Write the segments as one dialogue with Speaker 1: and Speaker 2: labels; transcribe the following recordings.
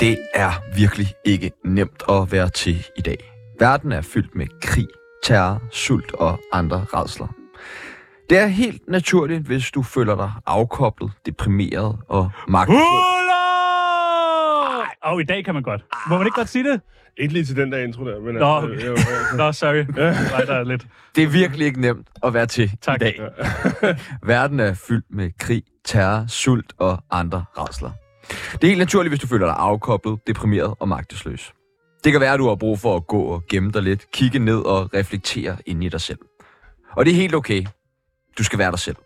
Speaker 1: Det er virkelig ikke nemt at være til i dag. Verden er fyldt med krig, terror, sult og andre redsler. Det er helt naturligt, hvis du føler dig afkoblet, deprimeret og magtesløs.
Speaker 2: Hula! Og i dag kan man godt. Må man ikke godt sige det?
Speaker 3: Ikke lige til den der intro der, men...
Speaker 2: Nå,
Speaker 3: altså,
Speaker 2: okay.
Speaker 3: jo, altså,
Speaker 2: Nå, sorry. Nej, der er lidt.
Speaker 1: Det er virkelig ikke nemt at være til
Speaker 2: Tak.
Speaker 1: i dag. Verden er fyldt med krig, terror, sult og andre redsler. Det er helt naturligt, hvis du føler dig afkoblet, deprimeret og magtesløs. Det kan være, at du har brug for at gå og gemme dig lidt, kigge ned og reflektere ind i dig selv. Og det er helt okay. Du skal være dig selv.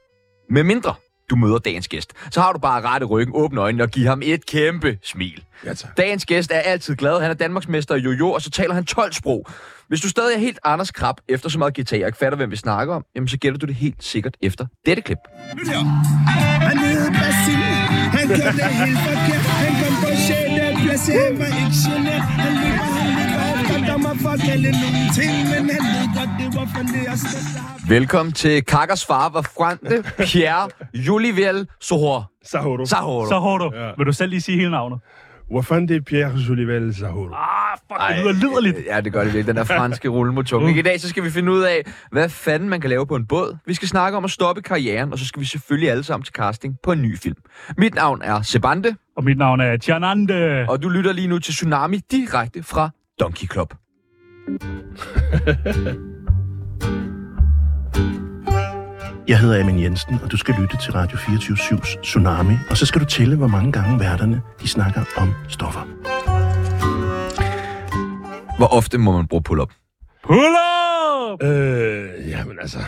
Speaker 1: Med mindre du møder dagens gæst, så har du bare rette ryggen, åbne øjnene og give ham et kæmpe smil.
Speaker 3: ja, tak.
Speaker 1: Dagens gæst er altid glad. Han er Danmarksmester i jojo, og så taler han 12 sprog. Hvis du stadig er helt Anders Krab efter så meget guitar, og ikke fatter, hvem vi snakker om, jamen så gætter du det helt sikkert efter dette klip.
Speaker 4: Han hed Basil, han gjorde det helt forkert Han kom på 6. plads, han var ikke genert Han løber, han løber op, og der må fortælle nogle ting Men han ved godt, det var for det at støtte ham
Speaker 1: Velkommen til Kakkers far, var Frante, Pierre, Julivel, Sohor,
Speaker 3: Sahoro.
Speaker 2: Så
Speaker 1: Sahoro.
Speaker 2: hårdt.
Speaker 3: Ja.
Speaker 2: Vil du selv lige sige hele navnet?
Speaker 3: Hvor fanden det er Pierre Jolivel Sahoro?
Speaker 2: Ah, fuck, det lyder liderligt.
Speaker 1: Ja, det gør det virkelig. Den der franske rullemotung. I dag så skal vi finde ud af, hvad fanden man kan lave på en båd. Vi skal snakke om at stoppe karrieren, og så skal vi selvfølgelig alle sammen til casting på en ny film. Mit navn er Sebante,
Speaker 2: Og mit navn er Tjernande.
Speaker 1: og du lytter lige nu til Tsunami direkte fra Donkey Club.
Speaker 5: Jeg hedder Amin Jensen, og du skal lytte til Radio 24-7's Tsunami. Og så skal du tælle, hvor mange gange værterne de snakker om stoffer.
Speaker 1: Hvor ofte må man bruge pull-up?
Speaker 2: Pull up!
Speaker 3: Øh, jamen altså...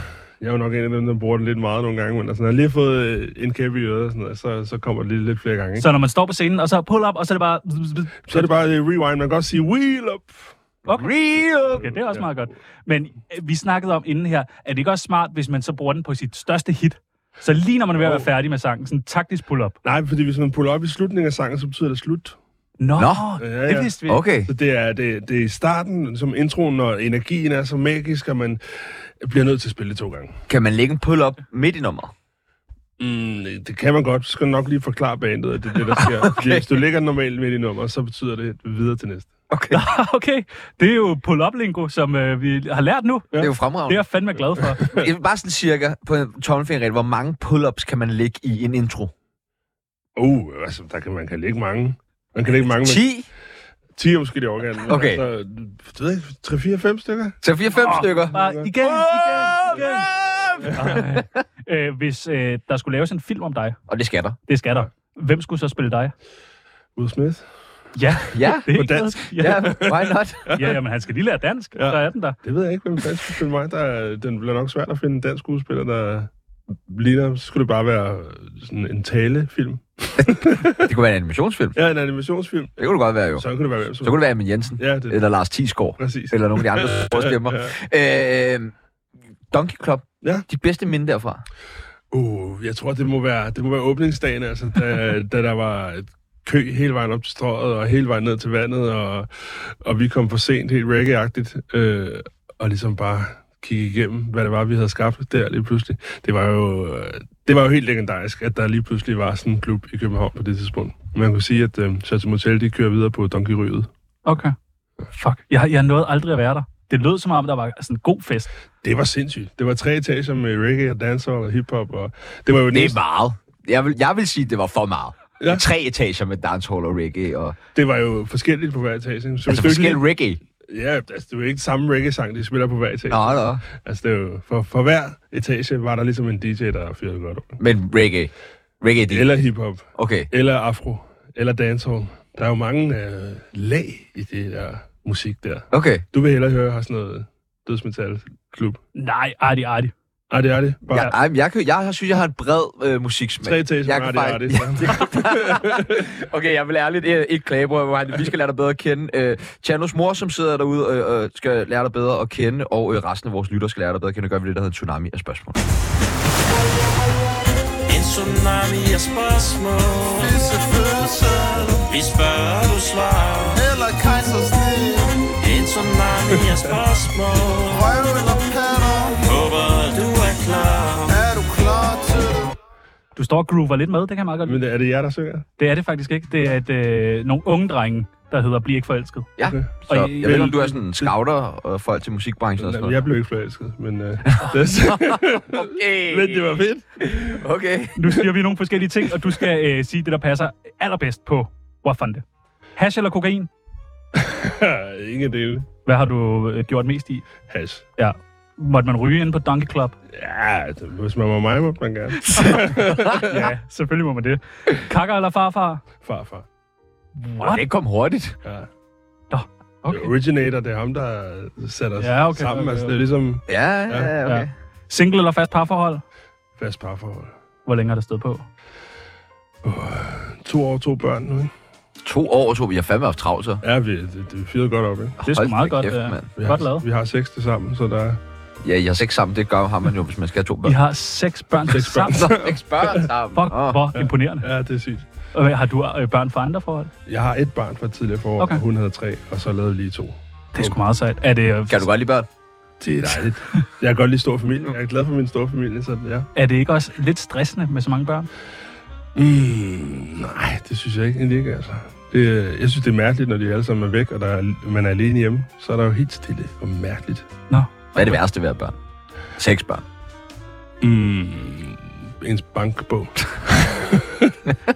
Speaker 3: Jeg er jo nok en af dem, der bruger den lidt meget nogle gange, men altså, når jeg lige har fået øh, en kæppe i øret og sådan noget, så, så kommer det lige lidt flere gange, ikke? Så,
Speaker 2: Så når man står på scenen, og så pull up, og så er det bare...
Speaker 3: så er det bare øh, rewind, man kan godt sige wheel up.
Speaker 2: Okay.
Speaker 1: Real.
Speaker 2: Okay, det er også meget godt. Men øh, vi snakkede om inden her, er det ikke også smart, hvis man så bruger den på sit største hit? Så lige når man er ved at være færdig med sangen, sådan en taktisk pull-up.
Speaker 3: Nej, fordi hvis man puller op i slutningen af sangen, så betyder det slut.
Speaker 2: Nå,
Speaker 1: Nå,
Speaker 3: ja,
Speaker 2: det
Speaker 3: ja.
Speaker 2: vidste vi. ikke.
Speaker 1: Okay.
Speaker 3: Så det er, det, det er i starten, som introen, når energien er så magisk, at man bliver nødt til at spille det to gange.
Speaker 1: Kan man lægge en pull-up midt i nummeret?
Speaker 3: Mm, det kan man godt. Så skal du nok lige forklare bandet, at det er det, der sker. okay. Hvis du ligger normalt midt i nummer, så betyder det videre til næste.
Speaker 1: Okay.
Speaker 2: Okay, det er jo pull-up-lingo, som øh, vi har lært nu.
Speaker 1: Det er jo
Speaker 2: Det er
Speaker 1: fremragende.
Speaker 2: jeg fandme glad for.
Speaker 1: Det er bare sådan cirka på en tommelfingerregel, hvor mange pull-ups kan man lægge i en intro?
Speaker 3: Uh, altså, der kan man kan ligge mange. Man kan ligge mange. men
Speaker 1: 10
Speaker 3: 10 er måske det organ.
Speaker 1: Okay.
Speaker 3: Altså, det ved jeg ikke, 3, 4, 5 stykker.
Speaker 1: til 4-5 stykker.
Speaker 2: Bare igen, igen, igen. Ej. Øh, hvis øh, der skulle laves en film om dig,
Speaker 1: Og det skal der.
Speaker 2: det skal der. Hvem skulle så spille dig?
Speaker 3: Will Smith.
Speaker 2: Ja,
Speaker 1: Ja,
Speaker 2: det er
Speaker 3: På
Speaker 2: ikke
Speaker 3: dansk.
Speaker 2: noget-
Speaker 1: ja,
Speaker 2: Ja,
Speaker 1: why not?
Speaker 2: ja, ja, men han skal lige lære dansk. Ja.
Speaker 3: Ja.
Speaker 2: Der er den der.
Speaker 3: Det ved jeg ikke, hvem dansk skulle spille mig. Der, er- den bliver nok svært at finde en dansk skuespiller, der ligner. Så skulle det bare være sådan en talefilm.
Speaker 1: Det kunne være en animationsfilm.
Speaker 3: Ja, en animationsfilm.
Speaker 1: Det kunne det godt være jo.
Speaker 3: Så kunne det være hvem som
Speaker 1: Så kunne det være Amin Jensen.
Speaker 3: Ja, det er
Speaker 1: Eller Lars Tisgaard.
Speaker 3: præcis.
Speaker 1: Eller nogle af de andre store stemmer. Øh, Donkey Club.
Speaker 3: Ja.
Speaker 1: Dit bedste minde derfra.
Speaker 3: Uh, jeg tror, det må være, det må være åbningsdagen, altså, da, da der var et kø hele vejen op til strøget, og hele vejen ned til vandet, og, og vi kom for sent, helt reggae-agtigt, øh, og ligesom bare kigge igennem, hvad det var, vi havde skabt der lige pludselig. Det var jo, øh, det var jo helt legendarisk, at der lige pludselig var sådan en klub i København på det tidspunkt. Man kunne sige, at øh, Chateau Motel, de kører videre på Donkey Ryget.
Speaker 2: Okay. Fuck, jeg, jeg nåede aldrig at være der. Det lød som om, der var sådan en god fest.
Speaker 3: Det var sindssygt. Det var tre etager med reggae og dancehall og hiphop, og det var jo
Speaker 1: Det
Speaker 3: næsten-
Speaker 1: er meget. Jeg vil, jeg vil sige, det var for meget.
Speaker 3: Ja.
Speaker 1: Tre etager med dancehall og reggae. Og,
Speaker 3: det var jo forskelligt på hver etage. Så hvis
Speaker 1: altså
Speaker 3: du ikke lige-
Speaker 1: forskellige reggae.
Speaker 3: Ja, altså, det er jo ikke samme reggae-sang, de spiller på hver etage.
Speaker 1: Nå, nå.
Speaker 3: Altså, det er jo, for, for hver etage var der ligesom en DJ, der fyrede godt op.
Speaker 1: Men reggae. Reggae, det
Speaker 3: Eller hiphop,
Speaker 1: Okay.
Speaker 3: eller afro, eller dancehall. Der er jo mange øh, lag i det der musik der.
Speaker 1: Okay.
Speaker 3: Du vil hellere høre her sådan noget dødsmetal-klub.
Speaker 2: Nej, arti, arti.
Speaker 3: Ej, det er det. Bare
Speaker 1: Ja,
Speaker 3: ja.
Speaker 1: ej, men jeg, kan, jeg har- synes, jeg har en bred øh, musiksmag.
Speaker 3: tre etager
Speaker 1: jeg
Speaker 3: med
Speaker 1: kan
Speaker 3: Artie Artie.
Speaker 1: faktisk- Okay, jeg vil ærligt øh, ikke klage på, Johan. vi skal lære dig bedre at kende. Øh, Chanos mor, som sidder derude, øh, øh, skal lære dig bedre at kende, og øh, resten af vores lytter skal lære dig bedre at kende. gør vi det, der hedder en tsunami af spørgsmål.
Speaker 6: En tsunami af spørgsmål
Speaker 4: Disse følelser,
Speaker 6: Vi spørger, du svarer
Speaker 4: eller kejsersnit
Speaker 6: En tsunami af spørgsmål
Speaker 4: Røv eller patter,
Speaker 6: Håber, du er klar
Speaker 4: er du klar til det?
Speaker 2: Du står og groover lidt med, det kan jeg meget godt lide.
Speaker 3: Men øh, er det jer, der synger?
Speaker 2: Det er det faktisk ikke. Det er et, øh, nogle unge drenge, der hedder Bliv ikke forelsket.
Speaker 1: Ja,
Speaker 3: Okay.
Speaker 1: så
Speaker 2: Og
Speaker 1: jeg
Speaker 2: I-
Speaker 1: ved ikke, om du er sådan en scouter og folk til musikbranchen og sådan
Speaker 3: Nej,
Speaker 1: noget.
Speaker 3: Jeg blev ikke forelsket, men, øh, det, men
Speaker 1: Okay,
Speaker 3: det var fedt.
Speaker 1: okay.
Speaker 2: Nu siger vi nogle forskellige ting, og du skal øh, sige det, der passer allerbedst på Wafande. Hash eller kokain?
Speaker 3: Ingen dele.
Speaker 2: Hvad har du øh, gjort mest i?
Speaker 3: Hash.
Speaker 2: Ja. Måtte man ryge ind på Donkey Club?
Speaker 3: Ja, det, hvis man var mig, måtte man gerne.
Speaker 2: ja, selvfølgelig må man det. Kakker eller farfar?
Speaker 3: Farfar.
Speaker 1: Og det kom hurtigt.
Speaker 3: Ja.
Speaker 2: Nå,
Speaker 3: Okay.
Speaker 2: okay.
Speaker 3: Originator, det er ham, der sætter os
Speaker 2: Ja, okay,
Speaker 3: sammen.
Speaker 2: okay,
Speaker 3: Altså,
Speaker 2: okay.
Speaker 3: det er ligesom
Speaker 1: Ja, ja, okay.
Speaker 2: Ja. Single eller fast parforhold?
Speaker 3: fast parforhold.
Speaker 2: Hvor længe har det stået på?
Speaker 3: To år, to børn nu, ikke?
Speaker 1: To år, to. Jeg har fandme haft travlt, så.
Speaker 3: Ja, vi, det, det fyrer godt op, ikke?
Speaker 2: Det er sgu
Speaker 1: Hold
Speaker 2: meget
Speaker 1: da
Speaker 2: godt,
Speaker 1: kæft,
Speaker 2: øh,
Speaker 1: mand.
Speaker 3: Vi har,
Speaker 2: godt lavet.
Speaker 3: Vi har seks til sammen, så der er...
Speaker 1: Ja, jeg har sex sammen. Det gør har man jo, hvis man skal have to
Speaker 2: I
Speaker 1: børn.
Speaker 2: har seks børn
Speaker 3: Seks børn.
Speaker 2: sammen.
Speaker 1: Så seks børn sammen.
Speaker 2: Fuck,
Speaker 1: Åh.
Speaker 2: hvor imponerende.
Speaker 3: Ja, det er sygt.
Speaker 2: Og hvad, har du øh, børn fra andre forhold?
Speaker 3: Jeg har et barn fra tidligere forår,
Speaker 2: Okay.
Speaker 3: okay. og hun havde tre, og så lavede vi lige to.
Speaker 2: Det er sgu meget sejt. Er det, øh,
Speaker 1: Kan du godt lide børn?
Speaker 3: Det er dejligt. Jeg kan godt lide stor familie. Jeg er glad for min store familie, så ja.
Speaker 2: er det ikke også lidt stressende med så mange børn?
Speaker 3: Mm, nej, det synes jeg ikke, egentlig ikke, altså. Det, øh, jeg synes, det er mærkeligt, når de alle sammen er væk, og der er, man er alene hjemme. Så er der jo helt stille og mærkeligt.
Speaker 2: Nå,
Speaker 1: Hvad er det værste ved at have børn? Seks børn.
Speaker 3: Mm, ens bankbog.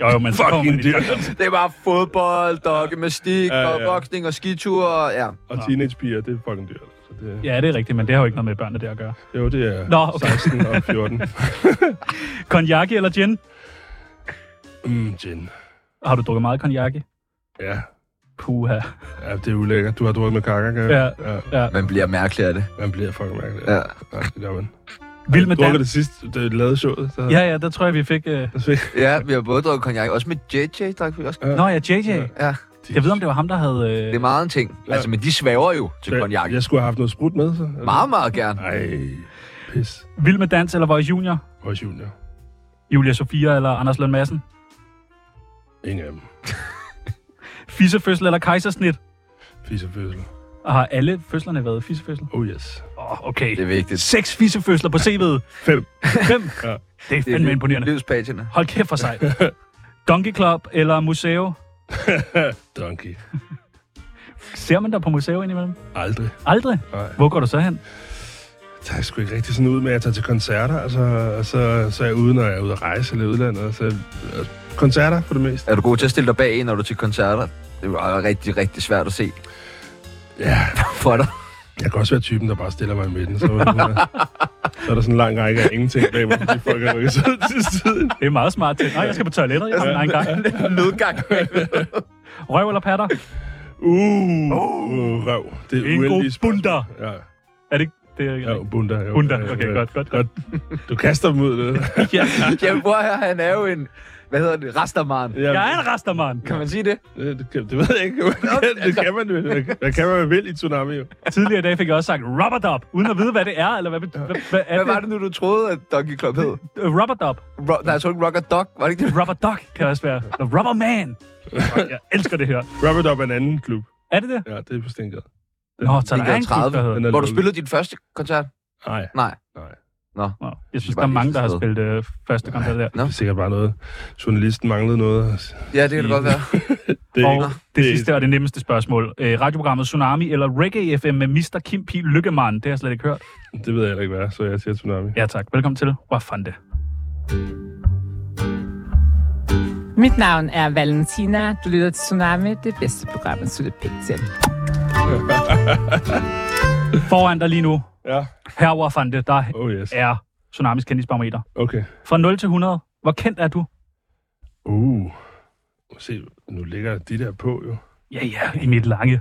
Speaker 2: jo, jo, men så kommer man
Speaker 3: Fucking
Speaker 2: i
Speaker 3: dyrt.
Speaker 1: Det er bare fodbold, og gymnastik,
Speaker 3: Ja, ja.
Speaker 1: og boksning, og skitur, og ja.
Speaker 3: Og teenagepiger, det er fucking dyrt. Så det,
Speaker 2: Ja, det er rigtigt, men det har jo ikke noget med børnene der at gøre.
Speaker 3: Jo, det er
Speaker 2: Nå, okay.
Speaker 3: 16 og 14.
Speaker 2: Konjaki eller gin?
Speaker 3: Mm, gin.
Speaker 2: Har du drukket meget konjaki?
Speaker 3: Ja.
Speaker 2: Puha.
Speaker 3: ja, det er ulækkert. Du har drukket med kakker, kan jeg?
Speaker 2: Ja.
Speaker 3: ja.
Speaker 2: Ja.
Speaker 1: Man bliver mærkelig af det.
Speaker 3: Man bliver fucking mærkelig.
Speaker 1: Ja.
Speaker 3: ja det gør man.
Speaker 2: Vild med
Speaker 3: Jeg drukkede
Speaker 2: dans.
Speaker 3: det sidst, da jeg lavede showet. Så...
Speaker 2: Ja, ja, der tror jeg, vi fik... Øh...
Speaker 3: Så fik-
Speaker 1: Ja, vi har både drukket konjak, også med JJ drak vi også.
Speaker 2: Nå ja, JJ.
Speaker 1: Ja,
Speaker 2: Jeg ved, om det var ham, der havde...
Speaker 1: det er
Speaker 2: Øh...
Speaker 1: meget en ting. Altså, men de svæver jo til konjak.
Speaker 3: Jeg skulle have haft noget sprut med, så.
Speaker 1: Meget, meget gerne.
Speaker 3: Nej, pis.
Speaker 2: Vild med dans eller Voice Junior?
Speaker 3: Også junior.
Speaker 2: Julia Sofia eller Anders Lund Madsen?
Speaker 3: Ingen af dem.
Speaker 2: Fissefødsel eller kejsersnit?
Speaker 3: Fis og fødsel.
Speaker 2: Og har alle fødslerne været fissefødsel?
Speaker 3: Oh yes.
Speaker 2: Åh, oh, okay.
Speaker 1: Det er vigtigt.
Speaker 2: Seks fissefødsler på CV'et.
Speaker 3: Fem.
Speaker 2: Fem.
Speaker 3: Ja.
Speaker 2: Det er fandme imponerende.
Speaker 1: Livspatina.
Speaker 2: Hold kæft for sejt. Donkey Club eller Museo?
Speaker 3: Donkey.
Speaker 2: Ser man dig på Museo indimellem?
Speaker 3: Aldrig.
Speaker 2: Aldrig.
Speaker 3: Nej.
Speaker 2: Hvor går du så hen?
Speaker 3: Der er sgu ikke rigtig sådan ud med, at jeg tager til koncerter, altså, og så, så er jeg ude, når jeg er ude at rejse eller udlandet. Så, og koncerter for det meste.
Speaker 1: Er du god til at stille dig bag, når du er til koncerter? Det er jo rigtig, rigtig svært at se
Speaker 3: Ja,
Speaker 1: for dig.
Speaker 3: jeg kan også være typen, der bare stiller mig i midten. Så, så er der sådan en lang række af ingenting bag mig, fordi folk er rykket sig til siden.
Speaker 2: Det er meget smart til. Nej, jeg skal på toilettet. Jeg sådan, nej, engang.
Speaker 1: Nødgang.
Speaker 2: Røv eller patter?
Speaker 3: Uh, uh, røv. Det er
Speaker 2: Bingo
Speaker 3: uendelige spørgsmål.
Speaker 2: bunder.
Speaker 3: Ja,
Speaker 2: Er det ikke? Det er
Speaker 3: ja, bunder. Jo.
Speaker 2: Bunder.
Speaker 3: Ja, ja,
Speaker 2: Okay,
Speaker 3: ja.
Speaker 2: godt, godt, godt.
Speaker 3: Du kaster dem ud, det.
Speaker 2: Ja.
Speaker 1: Jamen, hvor her, han er jo en, hvad hedder det, rastermaren.
Speaker 3: Ja,
Speaker 2: Jeg er en rastermand.
Speaker 1: Kan man sige det?
Speaker 3: det, det, kan- det ved jeg ikke.
Speaker 2: altså.
Speaker 3: det kan man jo. Hvad kan man vel i tsunami? Jo.
Speaker 2: Tidligere i dag fik jeg også sagt rubber dub, uden at vide, hvad det er, eller hvad, hvad, hvad, hvad er
Speaker 1: Hvad var det nu, du troede, at Donkey Club hed?
Speaker 2: Øh, Rubber dub.
Speaker 1: Ro- Nej, jeg tror ikke Rock og Dog. Var det ikke det?
Speaker 2: Rubber duck kan også være. The rubber man. Jeg elsker det her.
Speaker 3: Robert Up er en anden klub.
Speaker 2: Er det det?
Speaker 3: Ja, det er på Stengade.
Speaker 2: Nå, så der er en klub, der
Speaker 1: 30.
Speaker 2: hedder.
Speaker 3: Den er
Speaker 1: Hvor du
Speaker 3: lukket.
Speaker 1: spillede din første koncert?
Speaker 3: Nej,
Speaker 1: Nej.
Speaker 3: nej.
Speaker 2: Nå, jeg synes,
Speaker 1: var
Speaker 2: der er
Speaker 1: lige
Speaker 2: mange, der har
Speaker 1: sted.
Speaker 2: spillet øh, første koncert der.
Speaker 3: Det er sikkert bare noget. Journalisten manglede noget.
Speaker 1: Ja, det kan det godt være.
Speaker 3: Det er
Speaker 2: Og
Speaker 3: ikke.
Speaker 2: det
Speaker 3: det er-
Speaker 2: sidste og det nemmeste spørgsmål. Øh, radioprogrammet Tsunami eller Reggae FM med Mr. Kim P. Lykkemann. Det har jeg slet ikke hørt.
Speaker 3: Det ved jeg heller ikke, hvad er, så jeg siger tsunami.
Speaker 2: Ja tak. Velkommen til. Hvor fandt det?
Speaker 7: Mit navn er Valentina. Du lytter til Tsunami, det bedste program, at slutte pænt til.
Speaker 2: Foran dig lige nu,
Speaker 3: Ja.
Speaker 2: her hvor fandt det, der
Speaker 3: Oh yes.
Speaker 2: er Tsunamis kendisbarometer.
Speaker 3: Okay.
Speaker 2: Fra 0 til 100, hvor kendt er du?
Speaker 3: Uh. Se, nu ligger de der på jo.
Speaker 2: Ja, ja, i mit lange.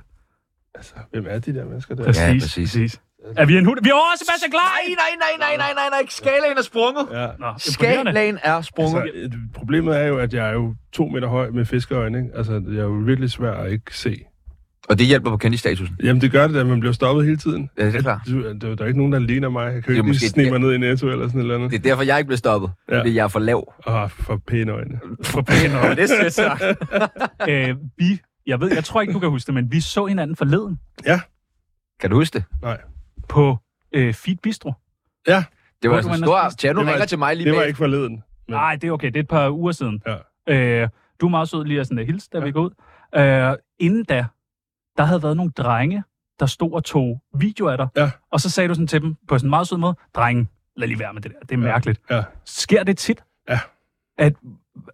Speaker 3: Altså, hvem er de der mennesker der?
Speaker 2: Præcis, ja, præcis.
Speaker 1: præcis.
Speaker 2: præcis. Er vi en hund? Vi er over Sebastian Klein!
Speaker 1: Nej, nej, nej, nej, nej, nej, nej. Skalaen er sprunget.
Speaker 3: Ja.
Speaker 2: Nå,
Speaker 1: Skalaen
Speaker 2: imponerende.
Speaker 1: er sprunget.
Speaker 3: Altså, øh, problemet er jo, at jeg er jo to meter høj med fiskeøjne, ikke? Altså, jeg er jo virkelig svær at ikke se. Altså-
Speaker 1: Og det hjælper på kendtstatusen.
Speaker 3: Jamen, det gør det, at man bliver stoppet hele tiden.
Speaker 1: Ja, det er klart.
Speaker 3: Du, øh, der, der er ikke nogen, der ligner mig. Jeg kan
Speaker 1: Det er
Speaker 3: jo ikke
Speaker 1: måske
Speaker 3: lige snige
Speaker 1: det-
Speaker 3: mig ned i Netto eller sådan et eller andet.
Speaker 1: Det er derfor, jeg ikke blev stoppet.
Speaker 3: Ja.
Speaker 1: Fordi jeg er for lav.
Speaker 3: Åh, oh, for pæne øjne.
Speaker 1: Mm.
Speaker 2: For pænt nok.
Speaker 1: det er sagt.
Speaker 2: Øh, vi, jeg ved, jeg tror ikke, du kan huske det, men vi så hinanden forleden
Speaker 1: Kan du huske det?
Speaker 3: Nej,
Speaker 2: på øh, Feed Bistro.
Speaker 1: Det var
Speaker 2: Hvor
Speaker 1: sådan
Speaker 2: du
Speaker 1: en
Speaker 2: ender
Speaker 1: stor...
Speaker 2: spist?
Speaker 1: Tjerno
Speaker 3: Det var-
Speaker 1: ringer til mig lige
Speaker 3: det var
Speaker 1: bag.
Speaker 3: ikke forleden.
Speaker 2: Nej, det er okay. Det er et par uger siden.
Speaker 3: Ja.
Speaker 2: Øh, du er meget sød lige at sådan, at hilse, da ja. vi går ud. Øh, inden da, der havde været nogle drenge, der stod og tog videoer af dig.
Speaker 3: Ja.
Speaker 2: Og så sagde du sådan til dem på sådan en meget sød måde, drenge, lad lige være med det der. Det er mærkeligt.
Speaker 3: Ja.
Speaker 2: Sker det tit?
Speaker 3: Ja.
Speaker 2: At,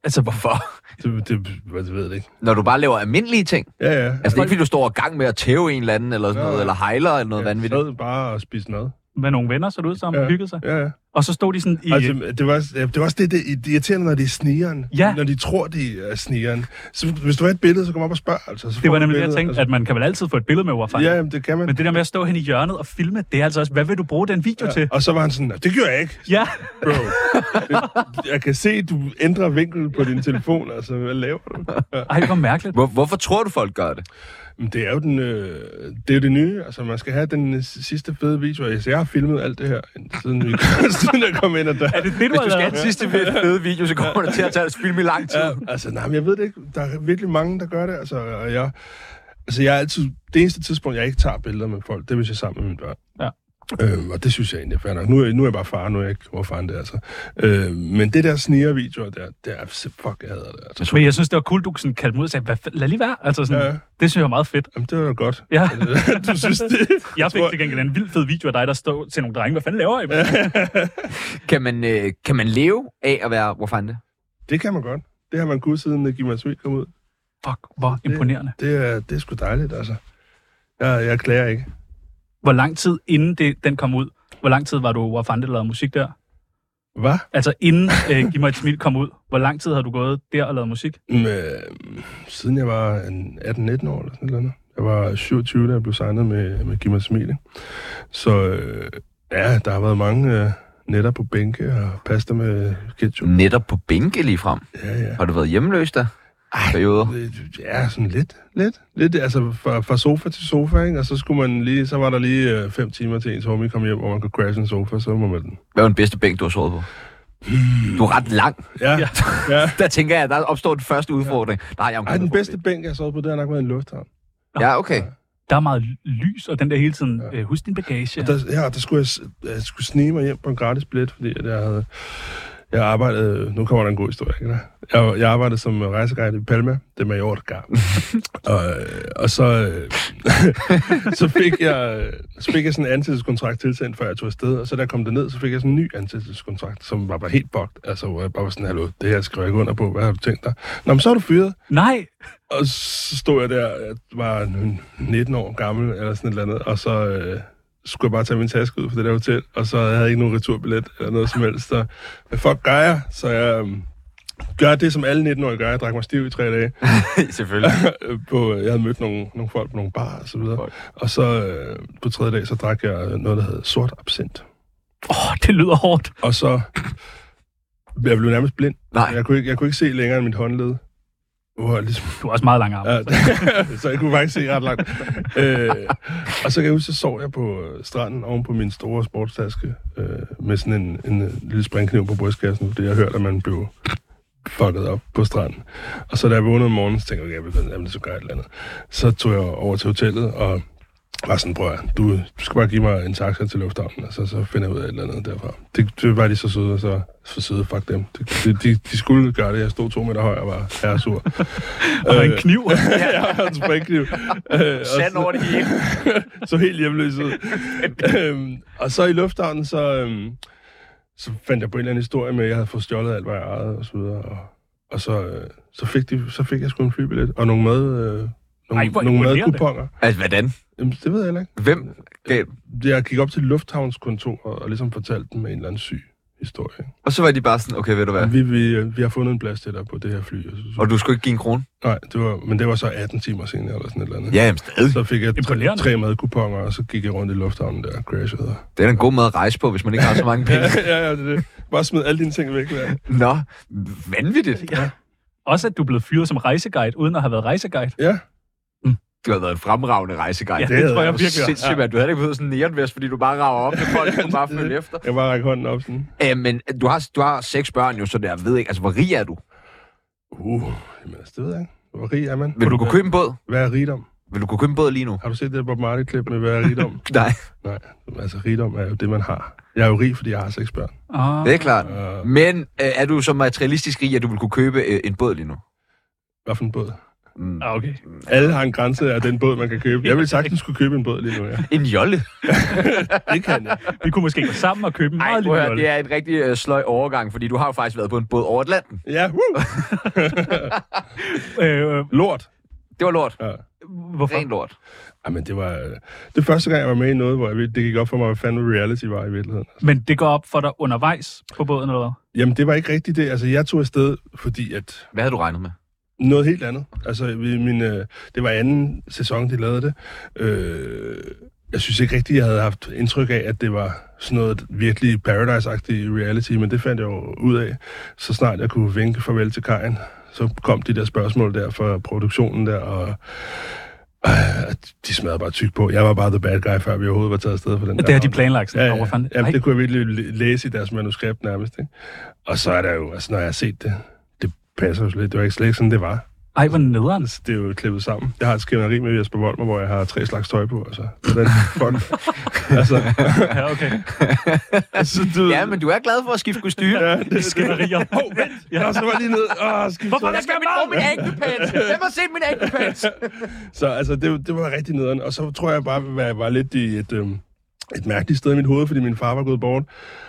Speaker 2: altså, hvorfor?
Speaker 3: Det, det, det ved jeg ikke.
Speaker 1: Når du bare laver almindelige ting.
Speaker 3: Ja, ja.
Speaker 1: Altså, det er ikke, fordi du står i gang med at tæve en eller anden, eller sådan
Speaker 3: Nå,
Speaker 1: noget,
Speaker 3: ja.
Speaker 1: eller hejler, eller noget ja,
Speaker 3: jeg
Speaker 1: vanvittigt.
Speaker 3: sad bare og spiste mad.
Speaker 2: Med nogle venner, så det ud sammen, ja.
Speaker 3: Ja.
Speaker 2: hyggede sig.
Speaker 3: Ja, ja.
Speaker 2: Og så stod de sådan i...
Speaker 3: Altså, det, var, også- det var også det, det, det er irriterende, når det er snigeren.
Speaker 2: Ja.
Speaker 3: Når de tror, det er snigeren. Så hvis du har et billede, så kom op og spørg. Altså, så
Speaker 2: det
Speaker 3: får
Speaker 2: var
Speaker 3: du
Speaker 2: nemlig det, jeg
Speaker 3: billedet,
Speaker 2: tænkte, altså. at man kan vel altid få et billede med overfang.
Speaker 3: Ja, jamen, det kan man.
Speaker 2: Men det der med at stå hen i hjørnet og filme, det er altså også, hvad vil du bruge den video ja. til?
Speaker 3: Og så var han sådan, det gør jeg ikke,
Speaker 2: Ja,
Speaker 3: bro. Det- jeg kan se, du ændrer vinkel på din telefon. Altså, hvad laver du? Ja.
Speaker 2: ej, hvor mærkeligt.
Speaker 1: Hvor, hvorfor tror du, folk gør det?
Speaker 3: Men det er jo den, øh, det, er jo det nye. Altså, man skal have den øh, sidste fede video. Altså, jeg har filmet alt det her, siden, vi, siden jeg kom ind ad døren.
Speaker 2: Er det det, du
Speaker 1: Hvis
Speaker 2: har
Speaker 1: du skal have
Speaker 2: lavet?
Speaker 1: den sidste fede video, så kommer det til at tage os film i lang tid.
Speaker 3: Ja, altså, nej, men jeg ved det ikke. Der er virkelig mange, der gør det. Altså, og jeg, altså, jeg er altid... Det eneste tidspunkt, jeg ikke tager billeder med folk, det er, hvis jeg er sammen med mine børn.
Speaker 2: Ja.
Speaker 3: Øhm, og det synes jeg egentlig er fair nok. Nu er, nu er jeg bare far, nu er jeg ikke hvor fanden det er, altså. Øhm, men det der sniger-videoer, der, det er... Fuck, jeg hader det, altså.
Speaker 2: Men jeg synes, det var cool, du sådan kaldte mig ud og sagde, "Hvad fa- lad lige være. Altså sådan,
Speaker 3: Ja.
Speaker 2: ja. Det synes jeg var meget fedt.
Speaker 3: Jamen, det var godt.
Speaker 2: Ja.
Speaker 3: du synes det?
Speaker 2: Jeg fik
Speaker 3: tror-
Speaker 2: til gengæld en vild fed video af dig, der stod til nogle drenge. Hvad fanden laver I? mand?"
Speaker 1: Kan man, øh, kan man leve af at være... Hvor fanden det?
Speaker 3: Det kan man godt. Det har man kunnet siden uh, Gimas kom ud.
Speaker 2: Fuck, hvor imponerende.
Speaker 3: Det er, det er sgu dejligt, altså. Jeg, jeg klager ikke.
Speaker 2: Hvor lang tid inden det, den kom ud, hvor lang tid var du hvor fanden det lavede musik der?
Speaker 3: Hvad?
Speaker 2: Altså inden øh, Giv mig et smil kom ud, hvor lang tid havde du gået der og lavet musik?
Speaker 3: Med, siden jeg var en 18-19 år eller sådan noget. Jeg var 27, da jeg blev signet med, med Giv mig et smil. ikke? Så øh, ja, der har været mange øh, netter på bænke og pasta med ketchup.
Speaker 1: Netop på bænke lige frem.
Speaker 3: Ja, ja.
Speaker 1: Har du været hjemløs der? Perioder.
Speaker 3: Øh, Ja, sådan lidt. Lidt, lidt altså fra, fra sofa til sofa, ikke? Og så, skulle man lige, så var der lige øh, fem timer til ens homie kom hjem, hvor man kunne crashe en sofa, så må man den.
Speaker 1: Hvad var den bedste bænk, du har sovet på? Du er ret lang.
Speaker 3: Ja,
Speaker 2: Ja.
Speaker 3: ja. ja.
Speaker 1: Der tænker jeg, at der opstår den første udfordring. Der har jeg en
Speaker 3: Ej, den
Speaker 1: god
Speaker 3: bedste bænk, jeg har sovet på, det har nok været en lufthavn.
Speaker 1: Ja, okay.
Speaker 2: Der er meget lys, og den der hele tiden, øh, husk din bagage.
Speaker 3: Og der, ja, der skulle jeg, s- jeg skulle snige mig hjem på en gratis billet, fordi at jeg havde... Jeg arbejdede... Nu kommer der en god historie, ikke? der? Jeg, jeg arbejdede som rejseguide i Palma. Det er Mallorca. og, og så... øh, så, fik jeg, så fik jeg sådan en ansættelseskontrakt tilsendt, før jeg tog afsted. Og så da jeg kom derned, så fik jeg sådan en ny ansættelseskontrakt, som var bare helt bogt. Altså, hvor jeg bare var sådan, hallo, det her skriver jeg ikke under på. Hvad har du tænkt dig? Nå, men så er du fyret.
Speaker 2: Nej,
Speaker 3: Og så stod jeg der, jeg var en 19 år gammel, eller sådan et eller andet, og så øh, skulle jeg bare tage min taske ud fra det der hotel, og så havde jeg ikke nogen returbillet eller noget som helst. Så, hvad fuck gør jeg? Så jeg øh, gør det, som alle 19-årige gør. Jeg drak mig stiv i tre dage. Øh,
Speaker 1: Selvfølgelig.
Speaker 3: på, jeg havde mødt nogle, nogle folk på nogle barer og så videre. Og så øh, på tredje dag, så drak jeg noget, der hed sort absint.
Speaker 2: åh, det lyder hårdt.
Speaker 3: Og så... Jeg blev nærmest blind.
Speaker 1: Nej.
Speaker 3: Jeg kunne ikke, jeg kunne ikke se længere end mit håndled. Hvor jeg ligesom
Speaker 2: Du har også meget lang arm. Ja.
Speaker 3: Ja, det- så jeg kunne faktisk se ret langt. Øh, og så kan jeg huske, så sov jeg på øh, stranden oven på min store sportstaske øh, med sådan en, en øh, lille springkniv på brystkassen, fordi jeg hørte, at man blev fucket op på stranden. Og så da jeg vågnede om morgenen, så tænkte jeg, okay, jeg vil- jamen, det så gøre et eller andet. Så tog jeg over til hotellet og var sådan, bror, du, du skal bare give mig en taxa til lufthavnen, og så, så finder jeg ud af et eller andet derfra. Det, det var de så søde, og så så søde, fuck dem. De, de, de, de skulle gøre det, jeg stod to meter højere og var herre sur.
Speaker 2: Og en kniv.
Speaker 3: Ja, jeg har en springkniv. Øh, og
Speaker 1: Sand over det hele.
Speaker 3: så helt hjemløs ud. øhm, og så i lufthavnen, så, øhm, så fandt jeg på en eller anden historie med, at jeg havde fået stjålet alt, hvad jeg ejede og så videre. Og, og så, øh, så, fik de, så fik jeg sgu en flybillet og nogle mad... Øh, nogle,
Speaker 2: Ej, hvor
Speaker 3: nogle
Speaker 2: imponerende.
Speaker 3: madkuponger.
Speaker 1: Altså, hvordan?
Speaker 3: Jamen, det ved jeg heller ikke.
Speaker 1: Hvem gav
Speaker 3: Jeg gik op til lufthavnskontoret og ligesom fortalte dem en eller anden syg historie. ikke?
Speaker 1: Og så var de bare sådan, okay, ved du hvad?
Speaker 3: Vi, vi, øh, vi har fundet en plads til dig på det her fly. Og så, så,
Speaker 1: Og du skulle ikke give en krone?
Speaker 3: nej, det var, men det var så 18 timer senere eller sådan et eller andet.
Speaker 1: Ja, jamen stadig.
Speaker 3: Så fik jeg tre,
Speaker 2: Imponerende.
Speaker 3: tre madkuponger, og så gik jeg rundt i lufthavnen der og crashede. og-
Speaker 1: Det er da en god måde at rejse på, hvis man ikke har så mange penge.
Speaker 3: ja, ja, det er det. Bare smid alle dine ting væk. Der.
Speaker 1: Nå, vanvittigt.
Speaker 2: Også at du er blevet fyret som rejseguide, uden at have været rejseguide.
Speaker 3: Ja,
Speaker 1: Du har været en fremragende rejseguide.
Speaker 2: Ja, det tror jeg virkelig, ja.
Speaker 1: Sindssygt, mand. Du havde ikke fået sådan en neonvest, fordi du bare rager op til folk, du bare følge efter.
Speaker 3: jeg bare række hånden op sådan.
Speaker 1: Æ, men du har, du har seks børn jo, så der ved ikke, altså hvor rig er du?
Speaker 3: Uh, jamen altså, det ved jeg ikke. Hvor rig er man?
Speaker 1: Vil du kunne købe en båd?
Speaker 3: Hvad er rigdom?
Speaker 1: Vil du kunne købe en båd lige nu?
Speaker 3: Har du set det Bob Marley-klip med, hvad er rigdom?
Speaker 1: Nej.
Speaker 3: Nej, altså rigdom er jo det, man har. Jeg er jo rig, fordi jeg har seks børn.
Speaker 2: Oh.
Speaker 1: Det er klart.
Speaker 3: Uh,
Speaker 1: Men øh, er du så materialistisk rig, at du vil kunne købe øh, en båd lige nu?
Speaker 3: hvad for en båd?
Speaker 1: Mm.
Speaker 2: Ah, okay.
Speaker 3: Alle har en grænse af den båd, man kan købe. Jeg vil sagtens skulle købe en båd lige nu, ja.
Speaker 1: En jolle?
Speaker 3: Det kan jeg.
Speaker 2: Vi kunne måske gå sammen og købe en
Speaker 1: Nej,
Speaker 2: meget lille jolle.
Speaker 1: det er en rigtig øh, sløj overgang, fordi du har jo faktisk været på en båd over Atlanten.
Speaker 3: Ja, woo!
Speaker 2: Øh,
Speaker 3: Lort.
Speaker 1: Det var lort.
Speaker 3: Ja.
Speaker 2: hvorfor?
Speaker 1: Ren lort.
Speaker 3: Jamen, det var... øh, Det første gang, jeg var med i noget, hvor jeg, ved- det gik op for mig, hvad fanden reality var i virkeligheden.
Speaker 2: Men det går op for dig undervejs på båden, eller hvad?
Speaker 3: Jamen, det var ikke rigtigt det. Altså, jeg tog afsted, fordi at
Speaker 1: Hvad havde du regnet med?
Speaker 3: noget helt andet. Altså, vi- min, øh, det var anden sæson, de lavede det. Øh, jeg synes ikke rigtigt, jeg havde haft indtryk af, at det var sådan noget virkelig paradise-agtigt reality, men det fandt jeg jo ud af, så snart jeg kunne vinke farvel til kajen. Så kom de der spørgsmål der fra produktionen der, og øh, de smadrede bare tyk på. Jeg var bare the bad guy, før vi overhovedet var taget afsted på den
Speaker 2: Det
Speaker 3: der
Speaker 2: har de
Speaker 3: havn.
Speaker 2: planlagt. Sådan.
Speaker 3: Ja,
Speaker 2: Åh,
Speaker 3: ja.
Speaker 2: hvor fanden-
Speaker 3: Jamen,
Speaker 2: Ej.
Speaker 3: det kunne jeg virkelig læ- læse i deres manuskript nærmest. Ikke? Og så er der jo, altså når jeg har set det, det passer jo slet ikke. Det var ikke slet ikke sådan, det var.
Speaker 2: Ej, hvor nederen.
Speaker 3: Altså, det er jo klippet sammen. Jeg har et skænderi med Jesper Volmer, hvor jeg har tre slags tøj på. Altså. Hvordan, fuck. altså,
Speaker 2: Ja, okay.
Speaker 3: altså, du, ved-
Speaker 1: Ja, men du er glad for at skifte kostyre.
Speaker 3: Ja, det, det,
Speaker 2: Skænderier.
Speaker 3: Hov, vent!
Speaker 2: Ja.
Speaker 3: Jeg skal bare lige ned. Åh, skift
Speaker 2: Hvorfor
Speaker 3: tøj.
Speaker 2: der skal min
Speaker 1: min ægtepants? Hvem har set min ægtepants?
Speaker 3: Så altså, det, det var rigtig nederen. Og så tror jeg bare, at jeg var lidt i et, øhm, et mærkeligt sted i mit hoved, fordi min far var gået bort,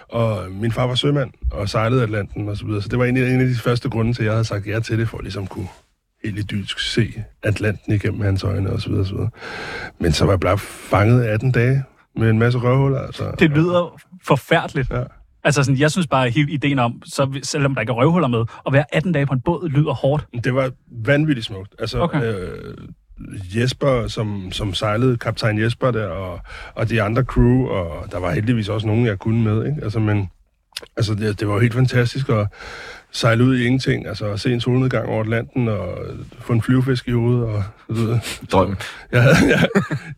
Speaker 3: og min far var sømand og sejlede Atlanten og så videre. Så det var egentlig en af de første grunde til, at jeg havde sagt ja til det, for at ligesom kunne helt idyllisk se Atlanten igennem hans øjne og så videre, og så videre. Men så var jeg bare fanget 18 dage med en masse røvhuller. Altså.
Speaker 2: Det lyder forfærdeligt.
Speaker 3: Ja.
Speaker 2: Altså, sådan, jeg synes bare, at hele ideen om, så, selvom der ikke er røvhuller med, at være 18 dage på en båd lyder hårdt.
Speaker 3: Det var vanvittigt smukt. Altså,
Speaker 2: Okay.
Speaker 3: okay. øh, Jesper, som, som sejlede, kaptajn Jesper der, og, og de andre crew, og der var heldigvis også nogen, jeg kunne med, ikke? Altså, men altså, det, det var jo helt fantastisk at sejle ud i ingenting, altså at se en solnedgang over Atlanten, og få en flyvefisk i hovedet, og så videre.
Speaker 1: Drømmen.
Speaker 3: Jeg havde, jeg,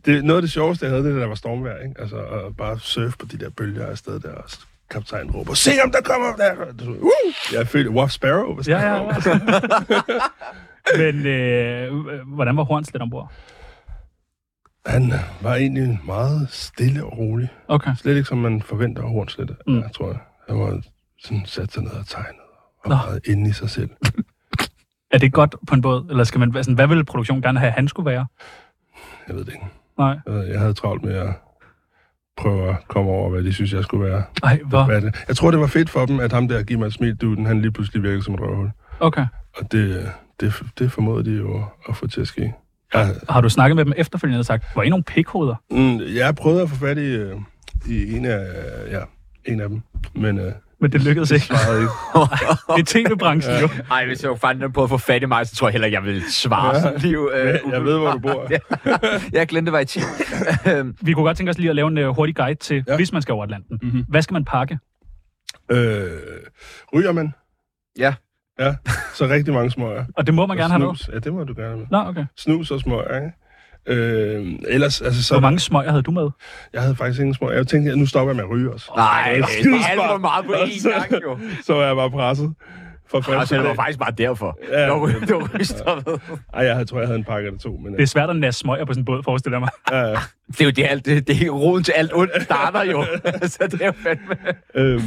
Speaker 3: det, noget af det sjoveste, jeg havde, det er, da der var stormvejr, ikke? Altså, at bare surfe på de der bølger afsted der, og kaptajnen råber, se om der kommer der! Uh! Jeg følte, Wolf Sparrow. hvad
Speaker 2: Ja,
Speaker 3: snakker
Speaker 2: ja.
Speaker 3: du om?
Speaker 2: Men øh, hvordan var Horns lidt ombord?
Speaker 3: Han var egentlig meget stille og rolig.
Speaker 2: Okay.
Speaker 3: Slet ikke, som man forventer af Hornslet,
Speaker 2: Mm.
Speaker 3: mm. jeg tror jeg. Han var sådan sat sig ned og tegnet og
Speaker 2: Nå.
Speaker 3: meget inde i sig selv.
Speaker 2: Er det godt på en båd? Eller skal man, sådan, hvad ville produktionen gerne have, han skulle være?
Speaker 3: Jeg ved det ikke.
Speaker 2: Nej.
Speaker 3: Jeg, ved- jeg havde travlt med at prøve at komme over, hvad de synes, jeg skulle være.
Speaker 2: Ej, hvor?
Speaker 3: Hvad er det? Jeg tror, det var fedt for dem, at ham der Giv mig et smil, duden, han lige pludselig virkede som et røvhul.
Speaker 2: Okay.
Speaker 3: Og det, det, det formåede de jo at få til at ske. Jeg,
Speaker 2: Har du snakket med dem efterfølgende og sagt, var I nogle pikhoveder?
Speaker 3: mm, jeg prøvede at få fat i, øh, i en, af, ja, en af dem, men øh,
Speaker 2: Men det lykkedes ikke.
Speaker 3: svarede ikke.
Speaker 2: Det er tv-branchen jo.
Speaker 1: Ej, hvis jeg fanden på at få fat i mig, så tror jeg heller, jeg vil svare sådan liv. Øh,
Speaker 3: Jeg ved, hvor du bor.
Speaker 1: Ja. jeg glemte, hvad i tid.
Speaker 2: Vi kunne godt tænke os lige at lave en øh, hurtig guide til, ja.
Speaker 3: Ja. Mhm.
Speaker 2: hvis man skal over Atlanten. Mm-hmm. Hvad skal man pakke?
Speaker 3: Øh, ryger man?
Speaker 1: Ja.
Speaker 3: Ja, så rigtig mange smøger.
Speaker 2: Og det må man gerne
Speaker 3: og
Speaker 2: have med.
Speaker 3: snus. Ja, det må du gerne have med.
Speaker 2: Nå, okay.
Speaker 3: Snus og smøger, ikke? Øh, ellers, altså så...
Speaker 2: Hvor mange smøger havde du med?
Speaker 3: Jeg havde faktisk ingen smøger. Jeg tænkte, at nu stopper jeg med at ryge også.
Speaker 1: Nej, det er
Speaker 3: skidesmart.
Speaker 1: alt for meget på én gang, jo.
Speaker 3: Så var jeg bare presset. For første
Speaker 1: Altså, det var
Speaker 3: dag.
Speaker 1: faktisk bare derfor.
Speaker 3: Ja.
Speaker 1: Det var, det var rygstoppet.
Speaker 3: Ej, jeg havde- tror, jeg havde en pakke eller to. Men,
Speaker 2: Det er svært at næste smøger på sådan en båd, forestiller jeg mig.
Speaker 3: ja, ja.
Speaker 1: Det er jo det, alt, det, det er roden til alt ondt starter jo. Så det er jo fandme...
Speaker 3: øhm,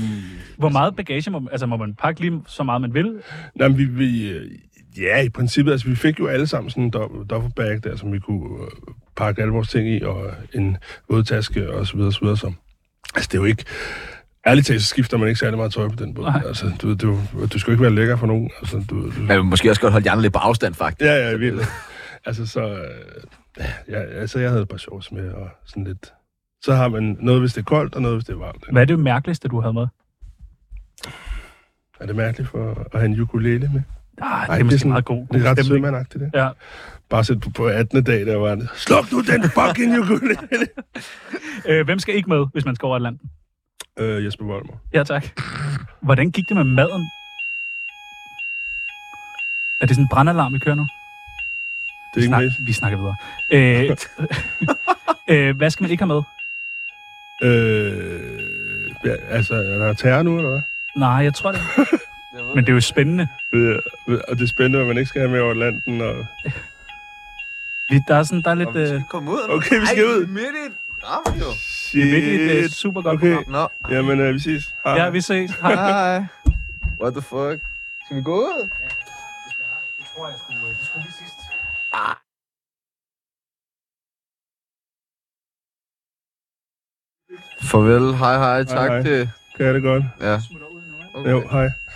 Speaker 2: Hvor meget bagage må man, altså, må man pakke lige så meget, man vil?
Speaker 3: Nej, men vi, vi, øh, ja, i princippet, altså vi fik jo alle sammen sådan en dob- duffelbag der, som vi kunne øh, pakke alle vores ting i, og en vådtaske og så videre, så videre. Så. Altså det er jo ikke, ærligt talt, så skifter man ikke særlig meget tøj på den båd.
Speaker 2: Nej.
Speaker 3: Altså, du, ved, du, du skal jo ikke være lækker for nogen. Altså, du, du,
Speaker 1: Man vil måske også godt holde de andre lidt på afstand, faktisk.
Speaker 3: ja, ja, virkelig. Altså så, øh, ja, altså jeg havde et par shorts med, og sådan lidt, så har man noget, hvis det er koldt, og noget, hvis det er varmt.
Speaker 2: Hvad er det mærkeligste, du havde med?
Speaker 3: Er det mærkeligt for at have en ukulele med?
Speaker 2: Ah, det
Speaker 3: Ej,
Speaker 2: er måske
Speaker 3: sådan-
Speaker 2: meget god,
Speaker 3: Det er
Speaker 2: god
Speaker 3: ret
Speaker 2: stemning.
Speaker 3: sømandagtigt, det.
Speaker 2: Ja.
Speaker 3: Bare sæt på, på 18. dag, der var han, sluk nu den fucking ukulele.
Speaker 2: Øh, hvem skal ikke med, hvis man skal over Atlanten?
Speaker 3: øh, Jesper Volmer.
Speaker 2: Ja, tak. Hvordan gik det med maden? Er det sådan en brandalarm, vi kører nu?
Speaker 3: Det er ikke
Speaker 2: Snak,
Speaker 3: Snak.
Speaker 2: vi snakker videre. Øh, øh, hvad skal man ikke have med?
Speaker 3: Øh, ja, altså, er der terror nu, eller hvad?
Speaker 2: Nej, jeg tror det. ikke. Men det er jo spændende.
Speaker 3: Ved jeg- ved- Og det er spændende, hvad man ikke skal have med over Atlanten. Og...
Speaker 2: Vi- Der er, sådan, der er lidt... Øh,
Speaker 1: komme ud.
Speaker 3: Okay, vi skal
Speaker 1: Ej,
Speaker 3: ud.
Speaker 1: midt i et program, jo.
Speaker 2: midt i et øh,
Speaker 3: Shit.
Speaker 2: super godt
Speaker 3: Okay.
Speaker 2: program.
Speaker 1: Nå,
Speaker 3: Jamen, øh, vi ses. Hej.
Speaker 2: Ja, vi ses. Hej.
Speaker 1: hej. What the fuck? Skal vi gå ud? Ah. Farvel, hej hej, tak
Speaker 3: hej.
Speaker 1: til...
Speaker 3: Kan jeg det godt?
Speaker 1: Ja.
Speaker 3: Jo, hej.